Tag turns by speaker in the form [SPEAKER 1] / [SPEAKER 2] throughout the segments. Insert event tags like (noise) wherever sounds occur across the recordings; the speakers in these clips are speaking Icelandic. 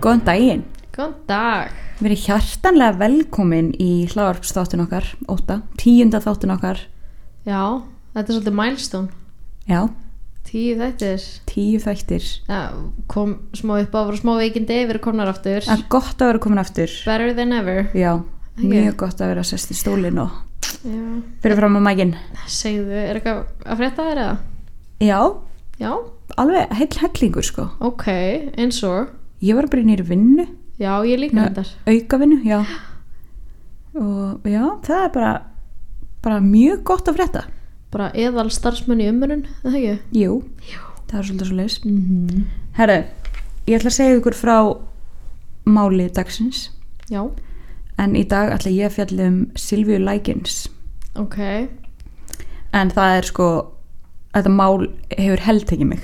[SPEAKER 1] Góðan daginn.
[SPEAKER 2] Góðan dag.
[SPEAKER 1] Við erum hjartanlega velkomin í hláarpsþáttin okkar, óta, tíunda þáttin okkar.
[SPEAKER 2] Já, þetta er svolítið milestone.
[SPEAKER 1] Já,
[SPEAKER 2] Tíu þættir.
[SPEAKER 1] tíu þættir.
[SPEAKER 2] Já, kom smá upp á, voru smá veikindi, við erum komnar aftur.
[SPEAKER 1] Það er gott að vera komin aftur.
[SPEAKER 2] Better than ever.
[SPEAKER 1] Já,
[SPEAKER 2] Ekki?
[SPEAKER 1] mjög gott að vera sest í stólinn og
[SPEAKER 2] Já.
[SPEAKER 1] fyrir fram á mækinn.
[SPEAKER 2] Segðu, er eitthvað að frétta þér eða?
[SPEAKER 1] Já,
[SPEAKER 2] Já,
[SPEAKER 1] alveg heil hellingur sko.
[SPEAKER 2] ok, eins og.
[SPEAKER 1] Ég var bara í nýri vinnu,
[SPEAKER 2] Já, ég líka
[SPEAKER 1] Nei.
[SPEAKER 2] þetta.
[SPEAKER 1] aukavinnu, já. Og já, það er bara, bara mjög gott að frétta.
[SPEAKER 2] Bara eðal starfsmenn í umrun, það ekki?
[SPEAKER 1] Jú, það er svolítið svo leis.
[SPEAKER 2] Mm -hmm.
[SPEAKER 1] Herru, ég ætla að segja ykkur frá máli dagsins
[SPEAKER 2] Já,
[SPEAKER 1] en í dag ætla ég að fjalla um Silvíu Lækins
[SPEAKER 2] ok.
[SPEAKER 1] en það er sko þetta mál hefur heldtekið mig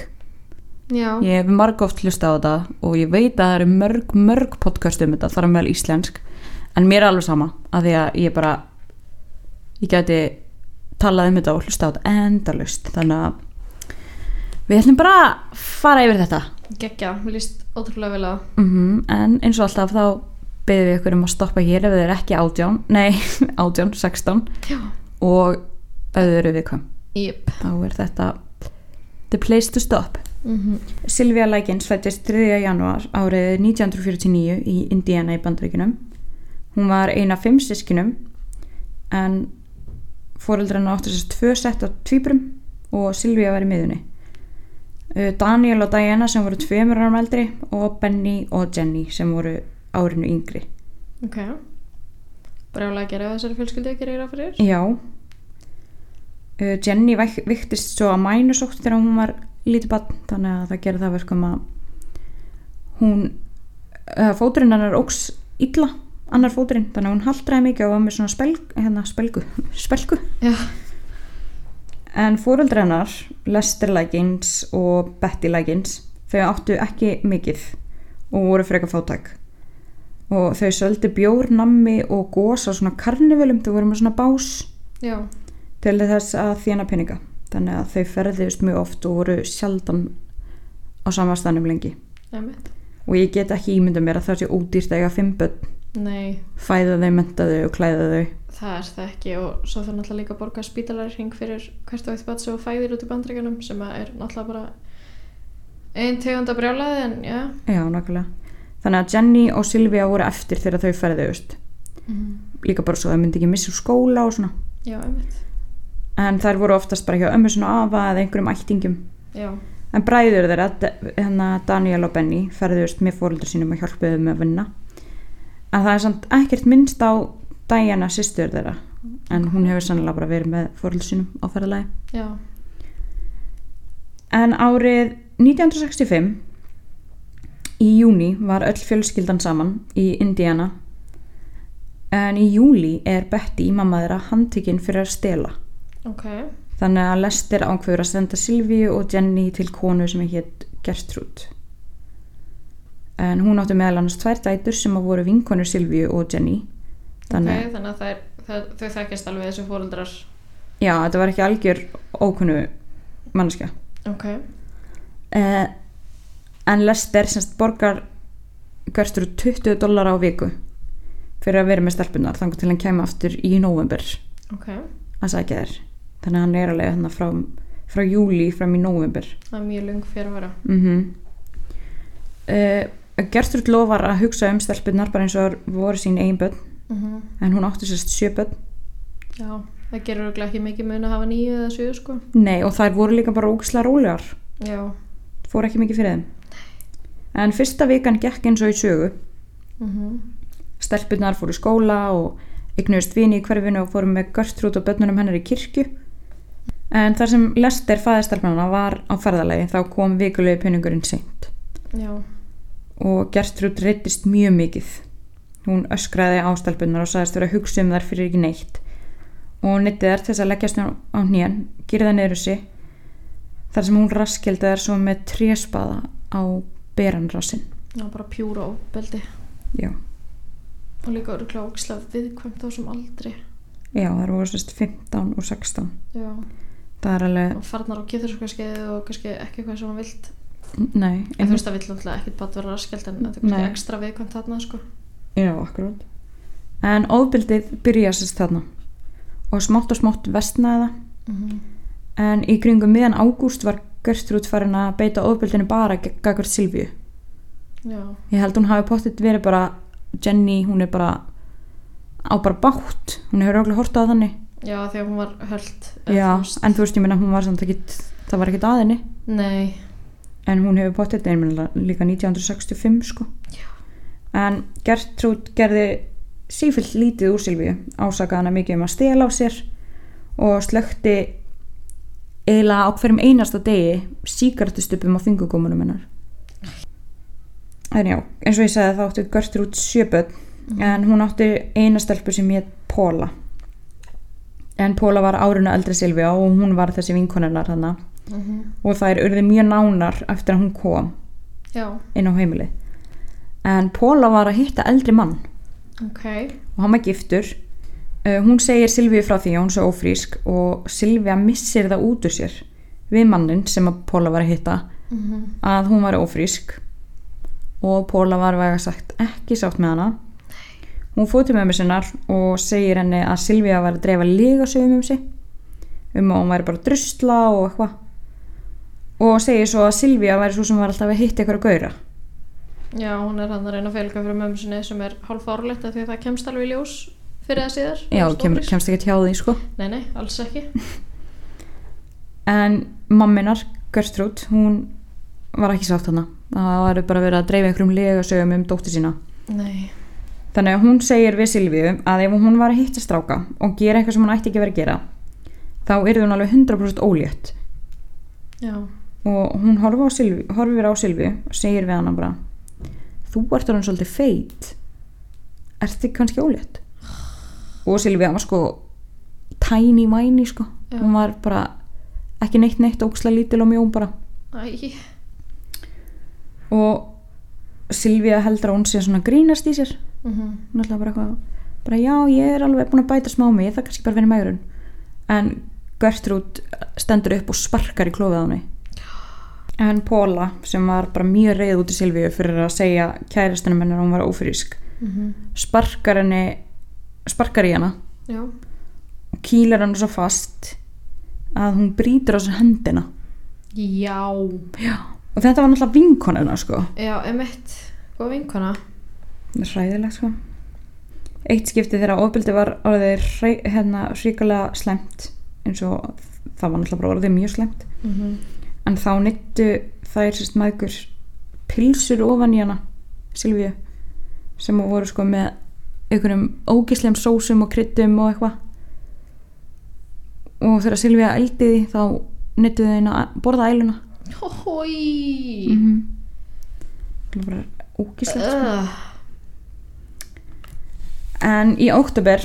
[SPEAKER 2] Já,
[SPEAKER 1] ég hef margóft hlusta á þetta og ég veit að það eru mörg, mörg podcast um þetta þar að meðal íslensk en mér er alveg sama að því að ég bara ég gæti talað um þetta og hlusta á þetta endalust þannig að við ætlum bara að fara yfir þetta
[SPEAKER 2] geggja, mér líst ótrúlega vel að.
[SPEAKER 1] mm En eins og alltaf þá beðum við ykkur um að stoppa hér ef þau eru ekki átján, nei, (laughs) átján, sextán
[SPEAKER 2] Já.
[SPEAKER 1] og ef þau eru viðkvæm.
[SPEAKER 2] Jep.
[SPEAKER 1] Þá er þetta the place to stop.
[SPEAKER 2] Mm
[SPEAKER 1] Silvía Lækins fættist 3. januar árið 1949 í Indiana í Bandaríkunum. Hún var eina fimm sískinum en fóreldrarna áttu sér tvö sett á tvíbrum og Silvía var í miðunni. Uh, Daniel og Diana sem voru tveimur árum eldri og Benny og Jenny sem voru árinu yngri.
[SPEAKER 2] Ok. Brjálega að gera þessari fjölskyldu að gera fyrir.
[SPEAKER 1] Já. Uh, Jenny væk- viktist svo að mænusótt þegar hún var lítið barn þannig að það gerir það verkum að hún uh, fóturinn hennar óks illa annar fóturinn þannig að hún haldraði mikið og var með svona spelg, hérna, spelgu, (laughs) spelgu.
[SPEAKER 2] Já.
[SPEAKER 1] En fóreldra hennar, Lester Lækins og Betty Lækins, þau áttu ekki mikið og voru frekar fátæk. Og þau söldu bjór, nammi og gos á svona karnivelum, þau voru með svona bás
[SPEAKER 2] Já.
[SPEAKER 1] til þess að þjána peninga. Þannig að þau ferðist mjög oft og voru sjaldan á samastanum lengi.
[SPEAKER 2] Emmett.
[SPEAKER 1] Og ég get ekki ímynda mér að það sé ódýrt að eiga fimm börn,
[SPEAKER 2] Nei,
[SPEAKER 1] fæða þau, menta þau og klæða þau.
[SPEAKER 2] það er það ekki og svo þarf náttúrulega líka að borga spítalarring fyrir hvert og eitt bat sem þú fæðir út í bandreikunum sem að er náttúrulega bara ein tegund að brjálaði en já
[SPEAKER 1] Já, nákvæmlega. Þannig að Jenny og Silvia voru eftir þegar þau ferðist. Líka bara svo að þau myndi ekki missa úr skóla og svona.
[SPEAKER 2] Já, einmitt
[SPEAKER 1] en þær voru oftast bara hjá ömmu svona afa eða einhverjum ættingum
[SPEAKER 2] Já,
[SPEAKER 1] en bræður þeirra, D- hérna Daniel og Benny ferðust með fóröldur sínum og hjálpuðu með að vinna en það er samt ekkert minnst á Diana sýstur þeirra en hún hefur sannlega bara verið með fóröldur sínum á ferðalagi
[SPEAKER 2] já,
[SPEAKER 1] En árið 1965 í júni var öll fjölskyldan saman í Indiana en í júli er Betty, mamma þeirra, handtekinn fyrir að stela
[SPEAKER 2] ok
[SPEAKER 1] Þannig að Lester ákveður að senda Silvíu og Jenny til konu sem hétt Gertrúd. En hún átti meðal annars tvær dætur sem að voru vinkonur Silvíu og Jenny. Þannig,
[SPEAKER 2] Ok, þannig að þær, þær, þau þekkjast alveg þessu fóreldrar
[SPEAKER 1] já, þetta var ekki algjör ókunnu mannskja.
[SPEAKER 2] Ok,
[SPEAKER 1] Eh, en Lester semst borgar Gertrúd 20 dólar á viku fyrir að vera með stelpunar þangar til hann kæmi aftur í november
[SPEAKER 2] ok
[SPEAKER 1] að sækja þér. Þannig að hann er alveg hérna frá, frá júli fram í november.
[SPEAKER 2] Það er mjög lung fyrir að vera
[SPEAKER 1] mm Gertrúd Eh, lofar að hugsa um stelpunnar bara eins og voru sín eigin börn en hún átti sérst sjö börn
[SPEAKER 2] Já, það gerur örugglega ekki mikið mun að hafa nýju eða sjöu sko
[SPEAKER 1] nei og þær voru líka bara ógislega rólegar
[SPEAKER 2] Já,
[SPEAKER 1] fór ekki mikið fyrir þeim en fyrsta vikan gekk eins og í sögu
[SPEAKER 2] mm
[SPEAKER 1] stelpunnar fóru í skóla og eignuðust vini í hverfinu og fóru með Gertrúd og börnunum hennar í kirkju en þar sem Lester fæðistelpunarna var á ferðalagi þá kom vikulegu peningurinn seint
[SPEAKER 2] já,
[SPEAKER 1] og Gertrúd reytist mjög mikið. Hún öskraði ástalpunnar og sagðist vera að hugsa um þær fyrir ekki neitt og nýtti þær til þess að leggjast á á hnén, gyrða neyru sig þar sem hún raskildi þær svo með tréspaða á beranrassin.
[SPEAKER 2] já, bara pjúra ofbeldi
[SPEAKER 1] Já,
[SPEAKER 2] og líka örgulega ógislega viðkvæmt á þessum aldri
[SPEAKER 1] já þær voru sérst 15 og 16.
[SPEAKER 2] já,
[SPEAKER 1] Það er alveg,
[SPEAKER 2] og farnar á getur og kannski ekki eitthvað sem hann vilt
[SPEAKER 1] Nei,
[SPEAKER 2] En þú veist það vill náttúrulega ekkert bara vera raskelt en þetta er
[SPEAKER 1] Nei.
[SPEAKER 2] kannski ekstra viðkvæmt þarna sko.
[SPEAKER 1] Já, akkurát. En ofbildið byrja sérst þarna og smátt og smátt vestnaði það. Mhm. En í kringum miðan ágúst var Gertrúd farin að beita ofbildinu bara gagvart Silvíu.
[SPEAKER 2] Já,
[SPEAKER 1] Ég held hún hafi pottitt verið bara Jenny, hún er bara á bara bátt. Hún hefur auðvitað hort á þannig.
[SPEAKER 2] já þegar hún var höld
[SPEAKER 1] Já, en þú veist, ég meina hún var samt ekki, það var ekkert að henni.
[SPEAKER 2] Nei,
[SPEAKER 1] En hún hefur pottitt einmitt líka 1965 sko.
[SPEAKER 2] Já.
[SPEAKER 1] En Gertrúd gerði sífilt lítið úr Silvíu, ásakaði hana mikið um að stela á sér og slökti eiginlega á hverjum einasta degi síkartustupum á fingurgómunum hennar. En já, eins og ég sagði þá átti Gertrúd sjöböld
[SPEAKER 2] Mhm.
[SPEAKER 1] en hún átti eina stelpu sem hétt Póla. En Póla var árinu eldri Silvíu og hún var þessi vinkonennar þannig og þær urði mjög nánar eftir að hún kom
[SPEAKER 2] já,
[SPEAKER 1] inn á heimilið. En Póla var að hitta eldri mann
[SPEAKER 2] ok
[SPEAKER 1] og hann var giftur. Uh, hún segir Silvíu frá því að hún sé ófrísk og Silvíu missir það út úr sér við mannin sem að Póla var að hitta
[SPEAKER 2] Mhm.
[SPEAKER 1] að hún var ófrísk og Póla var vega sagt ekki sátt með hana. Hún fór til mömmu sinnar og segir henni að Silvíu var að dreifa lígasöfum um sig um að hún væri bara að drusla og eitthvað og segir svo að Silvíu væri svo sem var alltaf að hitta eitthvað að gauðra.
[SPEAKER 2] Já, hún er hann að reyna að félga fyrir mömmu sinni sem er hálf árlegt af því að það kemst alveg í ljós fyrir það síðar
[SPEAKER 1] Já,
[SPEAKER 2] Stór
[SPEAKER 1] kem,
[SPEAKER 2] brís.
[SPEAKER 1] kemst ekki hjá því sko
[SPEAKER 2] Nei, nei, alls ekki
[SPEAKER 1] (laughs) En mamminar, Gertrúd, hún var ekki sátt hana Það var bara verið að dreifa einhverjum legasögum um dóttir sína
[SPEAKER 2] Nei,
[SPEAKER 1] Þannig að hún segir við Silvíu að ef hún var að hitta stráka og gera eitthvað sem hún ætti ekki verið að gera þá yrði hún alveg 100% ólétt
[SPEAKER 2] já,
[SPEAKER 1] og hún horfir á Silvíu, horfir á Silvíu og segir við hana bara Þú ert orðin svolítið feit Ert þið kannski ólétt? Og Silvíu var sko tiny mæni sko
[SPEAKER 2] Já.
[SPEAKER 1] hún var bara ekki neitt neitt óksla lítil og mjón bara
[SPEAKER 2] æ,
[SPEAKER 1] og Silvíu heldur að hún sé svona að grínast í sér
[SPEAKER 2] mhm
[SPEAKER 1] hún ætlaði bara eitthvað bara já, ég er alveg búin að bæta smá mig það er kannski bara verið megrun en Gertrúd stendur upp og sparkar í klófið á henni en Póla sem var bara mjög reið út í Silvíu fyrir að segja kæristinu hennar að hún var ófrísk
[SPEAKER 2] mhm,
[SPEAKER 1] sparkar henni sparkar í hana
[SPEAKER 2] Já,
[SPEAKER 1] og kýlar henni svo fast að hún brýtur á sér hendina
[SPEAKER 2] já
[SPEAKER 1] og þetta var náttúrulega vinkonina sko
[SPEAKER 2] Já, emitt, góð vinkona
[SPEAKER 1] Það er hræðilegt sko. Eitt skipti þegar ofbildi var orðið hræ, hérna, ríkulega slemt eins og það var náttúrulega bara orðið mjög slemt
[SPEAKER 2] mhm,
[SPEAKER 1] en þá nýttu þær sérst maður pilsur ofan í hana Silvíu sem voru sko með einhverjum ógisleim sósum og kryddum og eitthvað og þegar Silvíu eldiði þá nýttu þeir að borða æluna
[SPEAKER 2] Hói
[SPEAKER 1] mm -hmm. bara
[SPEAKER 2] Mhm.
[SPEAKER 1] ógislegt sko.
[SPEAKER 2] Ugh.
[SPEAKER 1] En í óttubur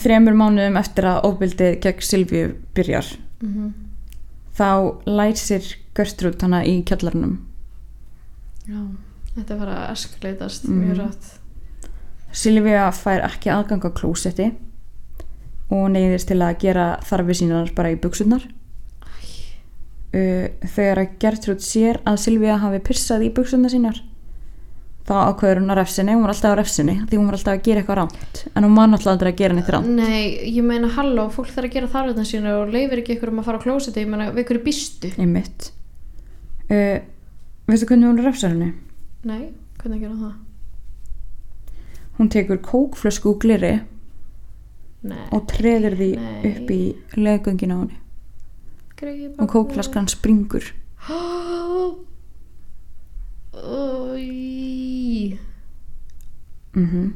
[SPEAKER 1] þremur mánuðum eftir að ofbildið gegn Silvíu byrjar
[SPEAKER 2] Mhm.
[SPEAKER 1] þá læsir Gertrúd hana í kjallarnum
[SPEAKER 2] Já, þetta er bara að eskleitast
[SPEAKER 1] Mhm.
[SPEAKER 2] mjög rætt
[SPEAKER 1] Silvíu fær ekki aðgang á klósetti og neyðist til að gera þarfi sínar bara í buksunar uh, þegar að Gertrúd sér að Silvíu hafi pissað í buksunar sínar þá ákveður hún að refsinni hún var alltaf á refsinni því hún var alltaf að gera eitthvað rámt en hún man alltaf aldrei að gera neitt rámt
[SPEAKER 2] Nei, ég meina halló, fólk þarf að gera þarfutna sína og leifir ekki ykkur um að fara á klósiti, ég meina við ykkur í býstu
[SPEAKER 1] einmitt uh, veistu hvernig hún refsar henni?
[SPEAKER 2] Nei, hvernig gera það?
[SPEAKER 1] hún tekur kókflösku úr glirri
[SPEAKER 2] Nei,
[SPEAKER 1] og treður því
[SPEAKER 2] Nei.
[SPEAKER 1] upp í leggöngin á henni
[SPEAKER 2] greið
[SPEAKER 1] og kókflaskan springur
[SPEAKER 2] Ói
[SPEAKER 1] mm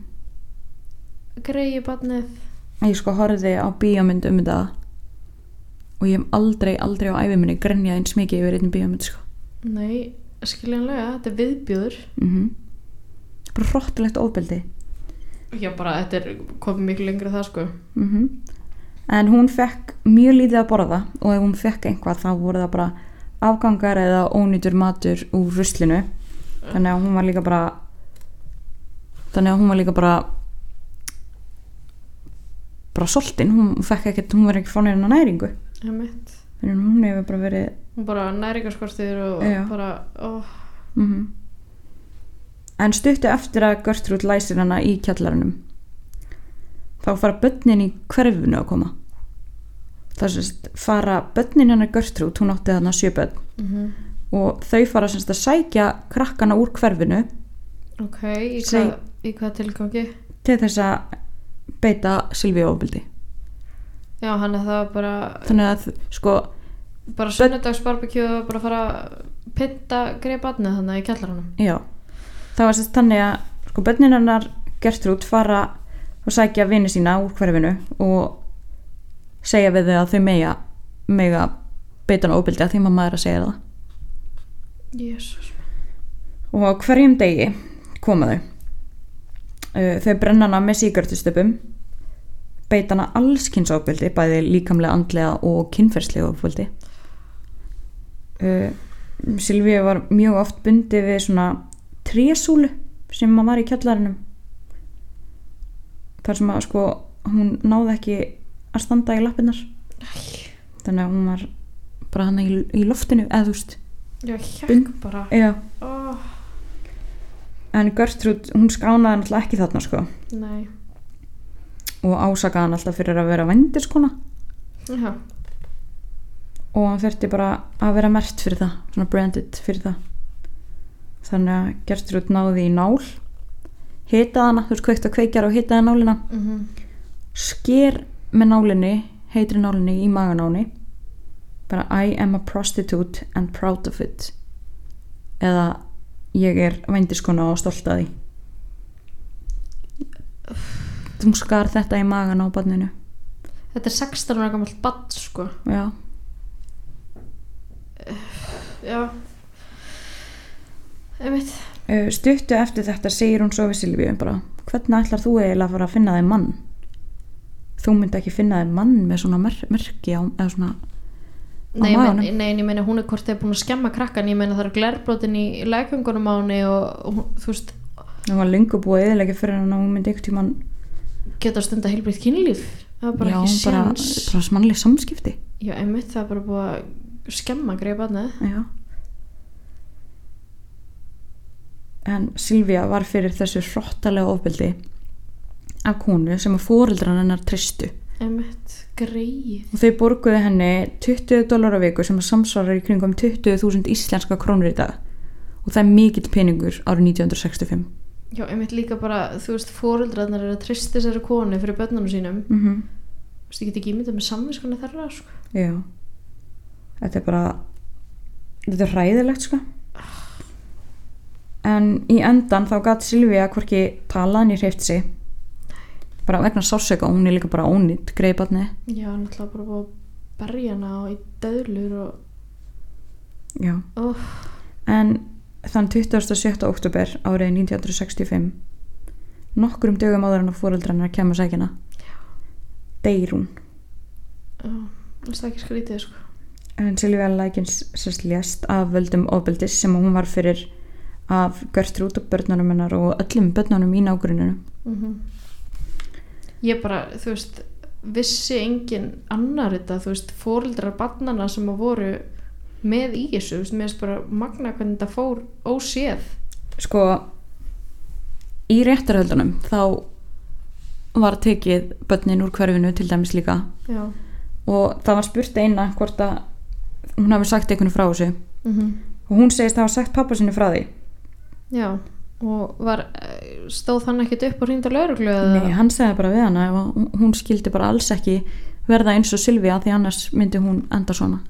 [SPEAKER 2] Greið barnið
[SPEAKER 1] ég sko horfði á bíómynd um þetta og ég hef aldrei, aldrei á æfiminni grenjað eins mikið yfir einn bíómynd sko.
[SPEAKER 2] Nei, skiljanlega, þetta er viðbjöður
[SPEAKER 1] mm bara hróttilegt ofbeldi
[SPEAKER 2] Já, bara þetta er komið miklu lengri en það sko
[SPEAKER 1] mm en hún fekk mjög lítið að borða og ef hún fekk einhvað þá voru það bara afgangar eða ónýtur matur úr ruslinu þannig að hún var líka bara þannig að hún var líka bara bara soltin, hún fekk ekkert, hún var ekki fór neina næringu
[SPEAKER 2] Emmett
[SPEAKER 1] en hún hefur bara verið
[SPEAKER 2] Hún bara næringarskortir og
[SPEAKER 1] Já.
[SPEAKER 2] bara, ó,
[SPEAKER 1] mhm En stuttu eftir að Gertrúd læsir hana í kjallarunum þá fara börnin í hverfinu að koma það sérst fara börnin hennar Gertrúd, hún átti þarna sjö börn og þau fara sérst að sækja krakkana úr hverfinu
[SPEAKER 2] ok, í
[SPEAKER 1] Seg-
[SPEAKER 2] hvað, í hvað tilgangi?
[SPEAKER 1] til þess að beita Silvíu ofbildi
[SPEAKER 2] Já, hann er það var bara,
[SPEAKER 1] þannig að sko,
[SPEAKER 2] bara sunnudagsbarbekju og bara fara að pinta greið barnið þannig í kjallaranum.
[SPEAKER 1] já það var sérst þannig að sko börnin hennar Gertrúd fara og sækja vini sína úr hverfinu og segja við þau að þau mega mega beita hana ofbildi að því mamma er að segja það
[SPEAKER 2] Jésús.
[SPEAKER 1] og á hverjum degi koma þau Eh, þau brenna hana með síkartustöpum beita hana allskynsofbeldi bæði líkamlega, andlega og kynferðslega ofbeldi Silvíu var mjög oft bundi við svona trésúlu sem maður var í kjallarinum þar sem að sko hún náði ekki að standa í lappirnar þannig að hún var bara hann í, í loftinu eða þú veist
[SPEAKER 2] Já, hjekk
[SPEAKER 1] Bind-
[SPEAKER 2] bara.
[SPEAKER 1] já
[SPEAKER 2] Ó,
[SPEAKER 1] En Gertrúd, hún skánaði náttúrulega ekki þarna sko
[SPEAKER 2] nei.
[SPEAKER 1] og ásakaði hann alltaf fyrir að vera vendiskona
[SPEAKER 2] Já,
[SPEAKER 1] og hann þurfti bara að vera mert fyrir það, svona branded fyrir það. Þannig að Gertrúd náði í nál, hitaði hana, þú veist kveikt að kveikjar og hitaði nálina,
[SPEAKER 2] mhm,
[SPEAKER 1] sker með nálinni, heitri nálinni í maganáni, bara I am a prostitute and proud of it eða ég er vendiskona og stolt að því. Þú skar þetta í magan á barninu.
[SPEAKER 2] Þetta er 16 ára gamalt barn, sko.
[SPEAKER 1] Já.
[SPEAKER 2] Já. Einmitt.
[SPEAKER 1] Uh, Stuttu eftir þetta segir hún svo við Silvíu bara, hvernig ætlar þú eiginlega að fara að finna þig mann? Þú myndi ekki finna þig mann með svona mer merki á, eða svona,
[SPEAKER 2] Nei, ég
[SPEAKER 1] maganum?
[SPEAKER 2] meina- nei, en ég meina hún er hvort þegar búin að skemma krakkan, ég meina það eru glerbrotin í lækungunum á henni og, og hún- þú veist,
[SPEAKER 1] það var lengur búið eðilega fyrir hann og hún myndi einhvern tímann,
[SPEAKER 2] geta að stunda heilbrið kynlíf. Það er bara
[SPEAKER 1] já,
[SPEAKER 2] ekki
[SPEAKER 1] bara,
[SPEAKER 2] séns.
[SPEAKER 1] bara smannlega samskipti.
[SPEAKER 2] Já, einmitt, það er bara búið að skemma greiða barnið.
[SPEAKER 1] Já. En Silvía var fyrir þessu hrottalega ofbeldi af konu sem að fóreldran hennar tristu
[SPEAKER 2] Einmitt, greið.
[SPEAKER 1] og þau borguðu henni 20 dólar á viku sem að samsvarar í kringum 20.000 íslenska krónur í dag og það er mikill peningur árið 1965
[SPEAKER 2] Já, einmitt líka bara, þú veist, fóreldrarnar eru að tristi þessari konu fyrir börnunum sínum.
[SPEAKER 1] mm -hmm.
[SPEAKER 2] Þú veist, ég get ekki ímyndað með samvinskona þeirra, sko.
[SPEAKER 1] já þetta er bara þetta er hræðilegt sko en í endan þá gat Silvía hvorki talað henni hreift sig bara vegna sásöka hún er líka bara ónýtt greiðbarni
[SPEAKER 2] Já, náttúrulega bara búið að berja hana og í döðlur og,
[SPEAKER 1] já
[SPEAKER 2] oh,
[SPEAKER 1] En þann 27. oktober árið 1965 nokkrum dögum áður en að fóreldrarnar kemur sækina deyr hún
[SPEAKER 2] oh, það er ekki skrítið, sko.
[SPEAKER 1] en Silvía Lækins sérst lést af völdum ofbeldis sem hún var fyrir af Gertrúd og börnunum hennar og öllum börnunum í nágruninu
[SPEAKER 2] Mm Ég bara, þú veist, vissi engin annar þetta, þú veist, fóreldrar barnana sem að voru með í þessu, þú veist, mér finnst bara magna hvernig þetta fór óséð.
[SPEAKER 1] sko í réttarhöldunum þá var tekið börnin úr hverfinu til dæmis líka
[SPEAKER 2] Já.
[SPEAKER 1] og það var spurt eina hvort að hún hafi sagt einhvern frá þessu
[SPEAKER 2] Mm
[SPEAKER 1] og hún segist að hafa sagt pappa sinni frá því
[SPEAKER 2] Já, og var, eh, stóð hann ekkert upp og hringdi á lauruglu eða?
[SPEAKER 1] Nei, hann segði bara við hana ef að hún skildi bara alls ekki verða eins og Silvía því annars myndi hún enda svona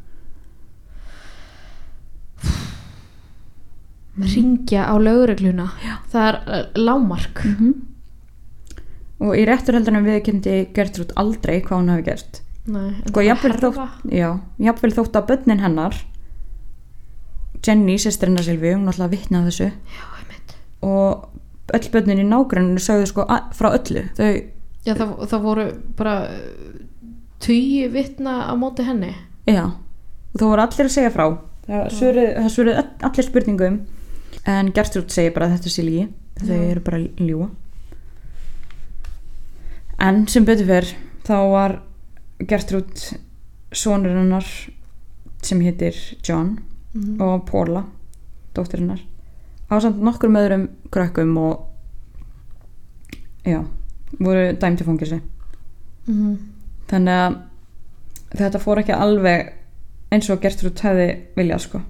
[SPEAKER 2] Ringja á laurugluna. Já. Það er eh, lágmark.
[SPEAKER 1] Mhm. og í rétturhöldunum viðkendi Gertrúd aldrei hvað hún hafi gert
[SPEAKER 2] Nei, en
[SPEAKER 1] sko,
[SPEAKER 2] það
[SPEAKER 1] jafnvel,
[SPEAKER 2] herfa.
[SPEAKER 1] þótt, já, jafnvel þótt að börnin hennar Jenny, sestrinna Silvíu hún alltaf vitnaði þessu
[SPEAKER 2] Já, einmitt.
[SPEAKER 1] og öll börnin í nágruninu sögðu sko a- frá öllu þau,
[SPEAKER 2] Já, það, það voru bara eh, tugi vitna á móti henni.
[SPEAKER 1] já og þó voru allir að segja frá það svöruðu það svöruðu öll- allir spurningum en Gertrúd segir bara að þetta sé lígi þau
[SPEAKER 2] Já.
[SPEAKER 1] eru bara að ljúa en sem betur fyrr þá var Gertrúd sonur hennar sem heitir John
[SPEAKER 2] Mhm.
[SPEAKER 1] og Paula dóttirinnar ásamt nokkur öðrum krökkum og já, voru dæmt í fangilsi
[SPEAKER 2] Mhm.
[SPEAKER 1] þannig að þetta fór ekki alveg eins og Gertrúd hefði viljað sko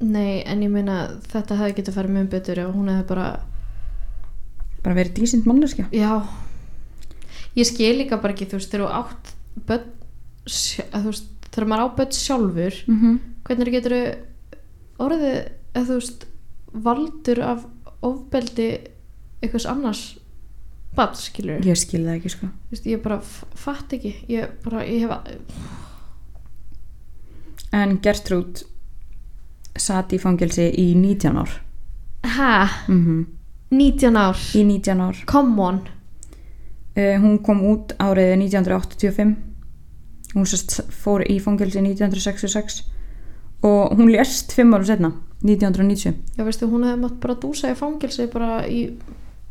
[SPEAKER 2] Nei, en ég meina þetta hefði getið farið mjög betur og hún hefði bara,
[SPEAKER 1] bara verið dísind manneskja
[SPEAKER 2] já ég skil líka bara ekki þú veist þegar þú átt börn, sj- að þú veist, þegar maður á börn sjálfur
[SPEAKER 1] mm -hmm.
[SPEAKER 2] hvernig getur orðið eða þú veist valdur af ofbeldi einhvers annars bad skilur
[SPEAKER 1] ég skil það ekki sko
[SPEAKER 2] Vist, ég bara f- fatt ekki ég bara, ég hef
[SPEAKER 1] en Gertrúd satt í fangilsi í 19 ár
[SPEAKER 2] hæ,
[SPEAKER 1] mm
[SPEAKER 2] 19 ár
[SPEAKER 1] í 19 ár
[SPEAKER 2] come on
[SPEAKER 1] uh, hún kom út árið 1985 hún sest, fór í fangilsi 1966 og hún lést 5 árum setna 1990
[SPEAKER 2] já veistu, hún hefði mátt bara dúsa í fangelsi bara í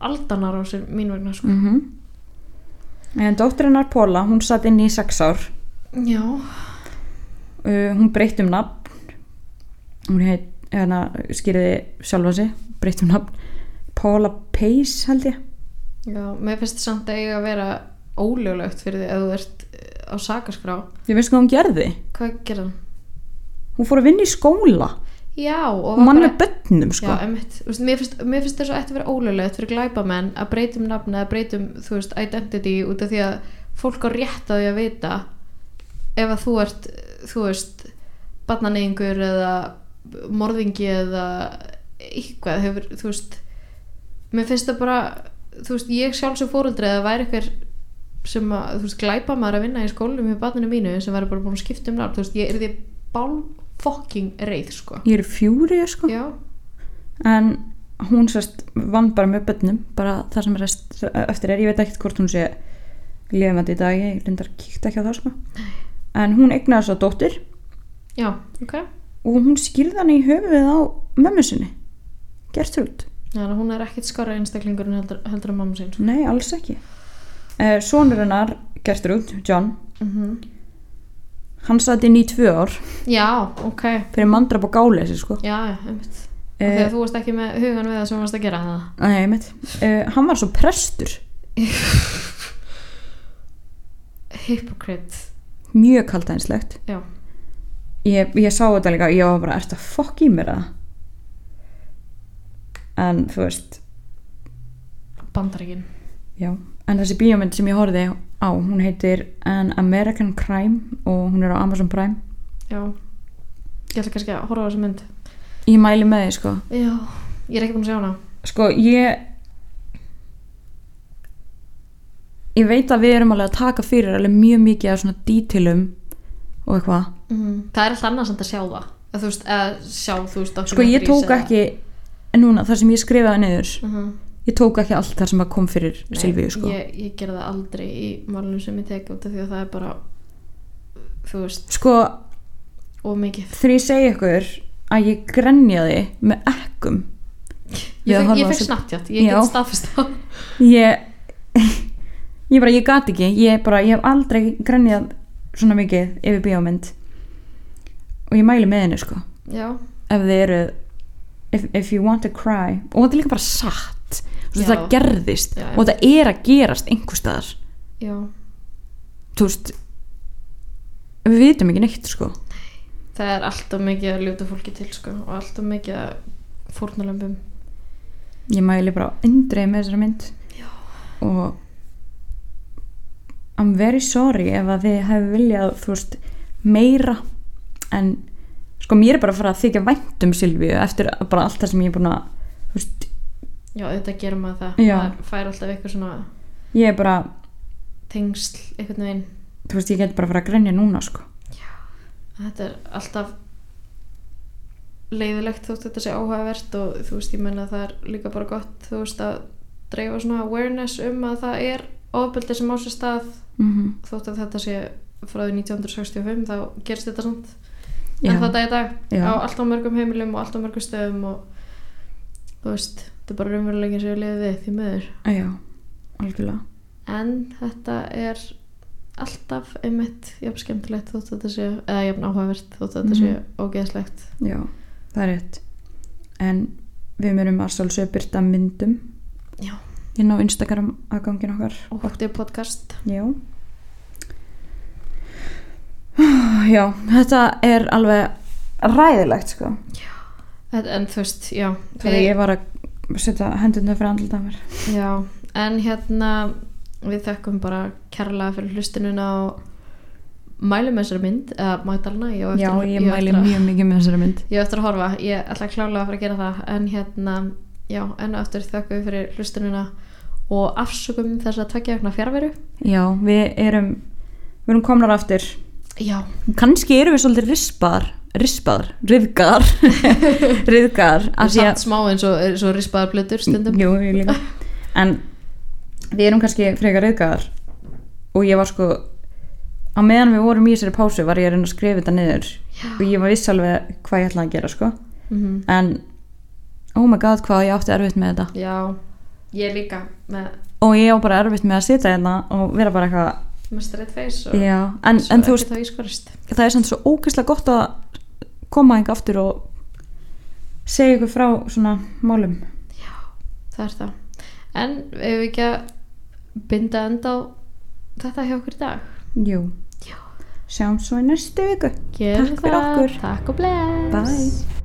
[SPEAKER 2] aldanar á sér mín vegna sko.
[SPEAKER 1] mm en dóttirinnar Paula hún satt inn í 6 ár
[SPEAKER 2] já,
[SPEAKER 1] uh, hún breytti um nafn hún heit hérna, skýrði sjálfa sig breytti um nafn Paula Pace held ég
[SPEAKER 2] já, mér finnst samt að eiga að vera ólöglegt fyrir því ef þú ert eh, á sakaskrá
[SPEAKER 1] ég veist hvað hún gerði
[SPEAKER 2] hvað gerði hann?
[SPEAKER 1] hún fór að vinna í skóla
[SPEAKER 2] já, og
[SPEAKER 1] og
[SPEAKER 2] var
[SPEAKER 1] mann
[SPEAKER 2] bara-
[SPEAKER 1] með bönnum sko
[SPEAKER 2] Já, einmitt. Þú veist, mér finnst, mér finnst þess að ætti að vera ólöglegt fyrir glæpamenn að um breytum nafni að breytum, þú veist, identity út af því að fólk á rétt á því að vita ef að þú ert, þú veist, barnaneyingur eða morðingi eða eitthvað hefur, þú veist, mér finnst það bara, þú veist, ég sjálf sem fóruldri að það væri eitthvað sem að, þú veist, glæpa maður að vinna í skólanum hjá barninu mínu sem væri bara búin að skipta um nafn, þú veist, ég er því bál fucking reið, sko.
[SPEAKER 1] ég er fjúri sko
[SPEAKER 2] Já.
[SPEAKER 1] en hún sérst vann bara með bönnum bara það sem rest, eftir er ég veit ekkert hvort hún sé lifandi í dag, ég lindar kíkta ekki á það sko en hún eignaði svo dóttir
[SPEAKER 2] Já, ok.
[SPEAKER 1] og hún skýrði hann í höfuðið á mömmu sinni Gertrúd
[SPEAKER 2] Já, en hún er ekkit skara einstaklingur en heldur, heldur að mamma sín. Sko.
[SPEAKER 1] Nei, alls ekki eh, Sónur hennar, Gertrúd, John Mhm. Hann satt inn í tvö ár
[SPEAKER 2] Já, ok.
[SPEAKER 1] Fyrir mandrap og gáleysi sko
[SPEAKER 2] Já, já, einmitt. Eh,
[SPEAKER 1] eh,
[SPEAKER 2] Þegar þú varst ekki með hugan við það sem þú varst að gera það.
[SPEAKER 1] Nei, einmitt eh, Hann var svo prestur
[SPEAKER 2] Hypocrite.
[SPEAKER 1] Mjög kaldænslegt
[SPEAKER 2] Já.
[SPEAKER 1] ég, ég sá þetta líka, ég var bara Ertu að fokk í mér það? En þú veist,
[SPEAKER 2] Bandaríkin.
[SPEAKER 1] já En þessi bíómynd sem ég horfði á Hún heitir An American Crime Og hún er á Amazon Prime
[SPEAKER 2] Já. Ég ætla kannski að horfa á þessa mynd.
[SPEAKER 1] Ég mæli með þið sko
[SPEAKER 2] Já. Ég er ekki búin að sjá hana.
[SPEAKER 1] Sko, ég Ég veit að við erum alveg að taka fyrir alveg mjög mikið af svona dítilum og eitthvað.
[SPEAKER 2] Það er alltaf annað samt að sjá það. Að, þú veist, að sjá, þú veist,
[SPEAKER 1] Mhm. Sko, ég tók ekki núna, þar sem ég skrifaði niður
[SPEAKER 2] Uh -huh.
[SPEAKER 1] ég tók ekki allt þar sem að kom fyrir Silvíu, sko.
[SPEAKER 2] Ég, ég gera það aldrei í málunum sem ég tek út af því að það er bara, þú veist,
[SPEAKER 1] Sko,
[SPEAKER 2] ómikið.
[SPEAKER 1] þegar ég segi ykkur að ég grenjaði með ekkum
[SPEAKER 2] Ég,
[SPEAKER 1] Ég
[SPEAKER 2] ég,
[SPEAKER 1] horfa
[SPEAKER 2] ég
[SPEAKER 1] á
[SPEAKER 2] fekk
[SPEAKER 1] þessu-
[SPEAKER 2] snabbtjátt, ég
[SPEAKER 1] Já.
[SPEAKER 2] get staðfist það. (laughs)
[SPEAKER 1] ég (laughs) ég bara, ég gat ekki ég bara, ég hef aldrei grenjað svona mikið yfir bíómynd og ég mæli með henni, sko.
[SPEAKER 2] Já,
[SPEAKER 1] ef þið eru if, if you want to cry og þetta er líka bara satt Svo
[SPEAKER 2] Já.
[SPEAKER 1] það gerðist
[SPEAKER 2] Já, já.
[SPEAKER 1] og þetta er að gerast einhver staðar
[SPEAKER 2] já.
[SPEAKER 1] þú veist við vitum ekki neitt sko
[SPEAKER 2] Það er alltaf mikið að ljúta fólki til sko og alltaf mikið að fórnulömbum.
[SPEAKER 1] ég mæli bara endrið með þessari mynd
[SPEAKER 2] Já.
[SPEAKER 1] og I'm very sorry ef að þið hefur viljað þú veist meira en sko mér er bara að fara að þykja vænt um Silvíu eftir bara allt það sem ég er búin að þú veist,
[SPEAKER 2] Já, auðvitað gerum maður það.
[SPEAKER 1] Já.
[SPEAKER 2] Maður fær alltaf eitthvað svona
[SPEAKER 1] ég er bara
[SPEAKER 2] tengsl einhvern veginn.
[SPEAKER 1] þú veist ég get bara að fara að grenja núna sko
[SPEAKER 2] Þetta er alltaf leiðilegt þótt þetta sé áhugavert og þú veist, ég menna það er líka bara gott þú veist að dreifa svona awareness um að það er ofbeldi sem á sér stað
[SPEAKER 1] mm -hmm.
[SPEAKER 2] þótt að þetta sé frá því 1965 þá gerst þetta samt en það dag í dag
[SPEAKER 1] Já.
[SPEAKER 2] á allt á mörgum heimilum og allt á mörgum stöðum og þú veist, þetta er bara raunverulegin sem ég liði við því möður
[SPEAKER 1] Já, algjörlega
[SPEAKER 2] en þetta er alltaf einmitt jafn skemmtilegt þótt þetta sé eða jafn áhugavert þótt þetta sé
[SPEAKER 1] Mhm.
[SPEAKER 2] ógeðslegt
[SPEAKER 1] já, það er rétt en við mjögum að sálsög byrta myndum
[SPEAKER 2] Já.
[SPEAKER 1] inn á Instagram aðgangin okkar
[SPEAKER 2] ótti podcast
[SPEAKER 1] já já, þetta er alveg ræðilegt sko
[SPEAKER 2] en, en þú veist, já
[SPEAKER 1] þegar ég var að setja hendurna fyrir andlita mér
[SPEAKER 2] já, en hérna við þökkum bara kærlega fyrir hlustununa og mælum með þessari mynd eða mætalna, já,
[SPEAKER 1] já, ég mæli
[SPEAKER 2] eftir að,
[SPEAKER 1] mjög mikið með þessari mynd
[SPEAKER 2] ég á eftir að horfa, ég ætla klálega að fara að gera það en hérna, já, enn og eftir þökkum við fyrir hlustununa og afsökum þess að tvekja okna fjárveru
[SPEAKER 1] já, við erum við erum komnar aftur
[SPEAKER 2] já,
[SPEAKER 1] kannski erum við svolítið rispaðar rispaðar, riðgar riðgar
[SPEAKER 2] og samt smá eins og, eins og rispaðar blöður stundum
[SPEAKER 1] Jú, ég líka En við erum kannski frekar reyðgæðar og ég var sko á meðan við vorum í þessari pásu var ég að reyna að skrifa þetta niður
[SPEAKER 2] Já.
[SPEAKER 1] og ég var viss alveg hvað ég ætlaði að gera sko
[SPEAKER 2] Mhm.
[SPEAKER 1] en oh my god hvað ég átti erfitt með þetta
[SPEAKER 2] Já, ég líka með,
[SPEAKER 1] og ég á bara erfitt með að sitja hérna og vera bara eitthvað
[SPEAKER 2] með straight face og
[SPEAKER 1] já, en,
[SPEAKER 2] svo
[SPEAKER 1] en þú veist,
[SPEAKER 2] ekki þá ískorist
[SPEAKER 1] það er samt svo ógeðslega gott að koma hingað aftur og segja ykkur frá svona málum
[SPEAKER 2] það er það en ef við ekki að binda enda á þetta hjá okkur í dag
[SPEAKER 1] Jú,
[SPEAKER 2] Já.
[SPEAKER 1] sjáum svo í næstu viku
[SPEAKER 2] Gerum
[SPEAKER 1] Takk fyrir okkur.
[SPEAKER 2] Takk og bless
[SPEAKER 1] Bye.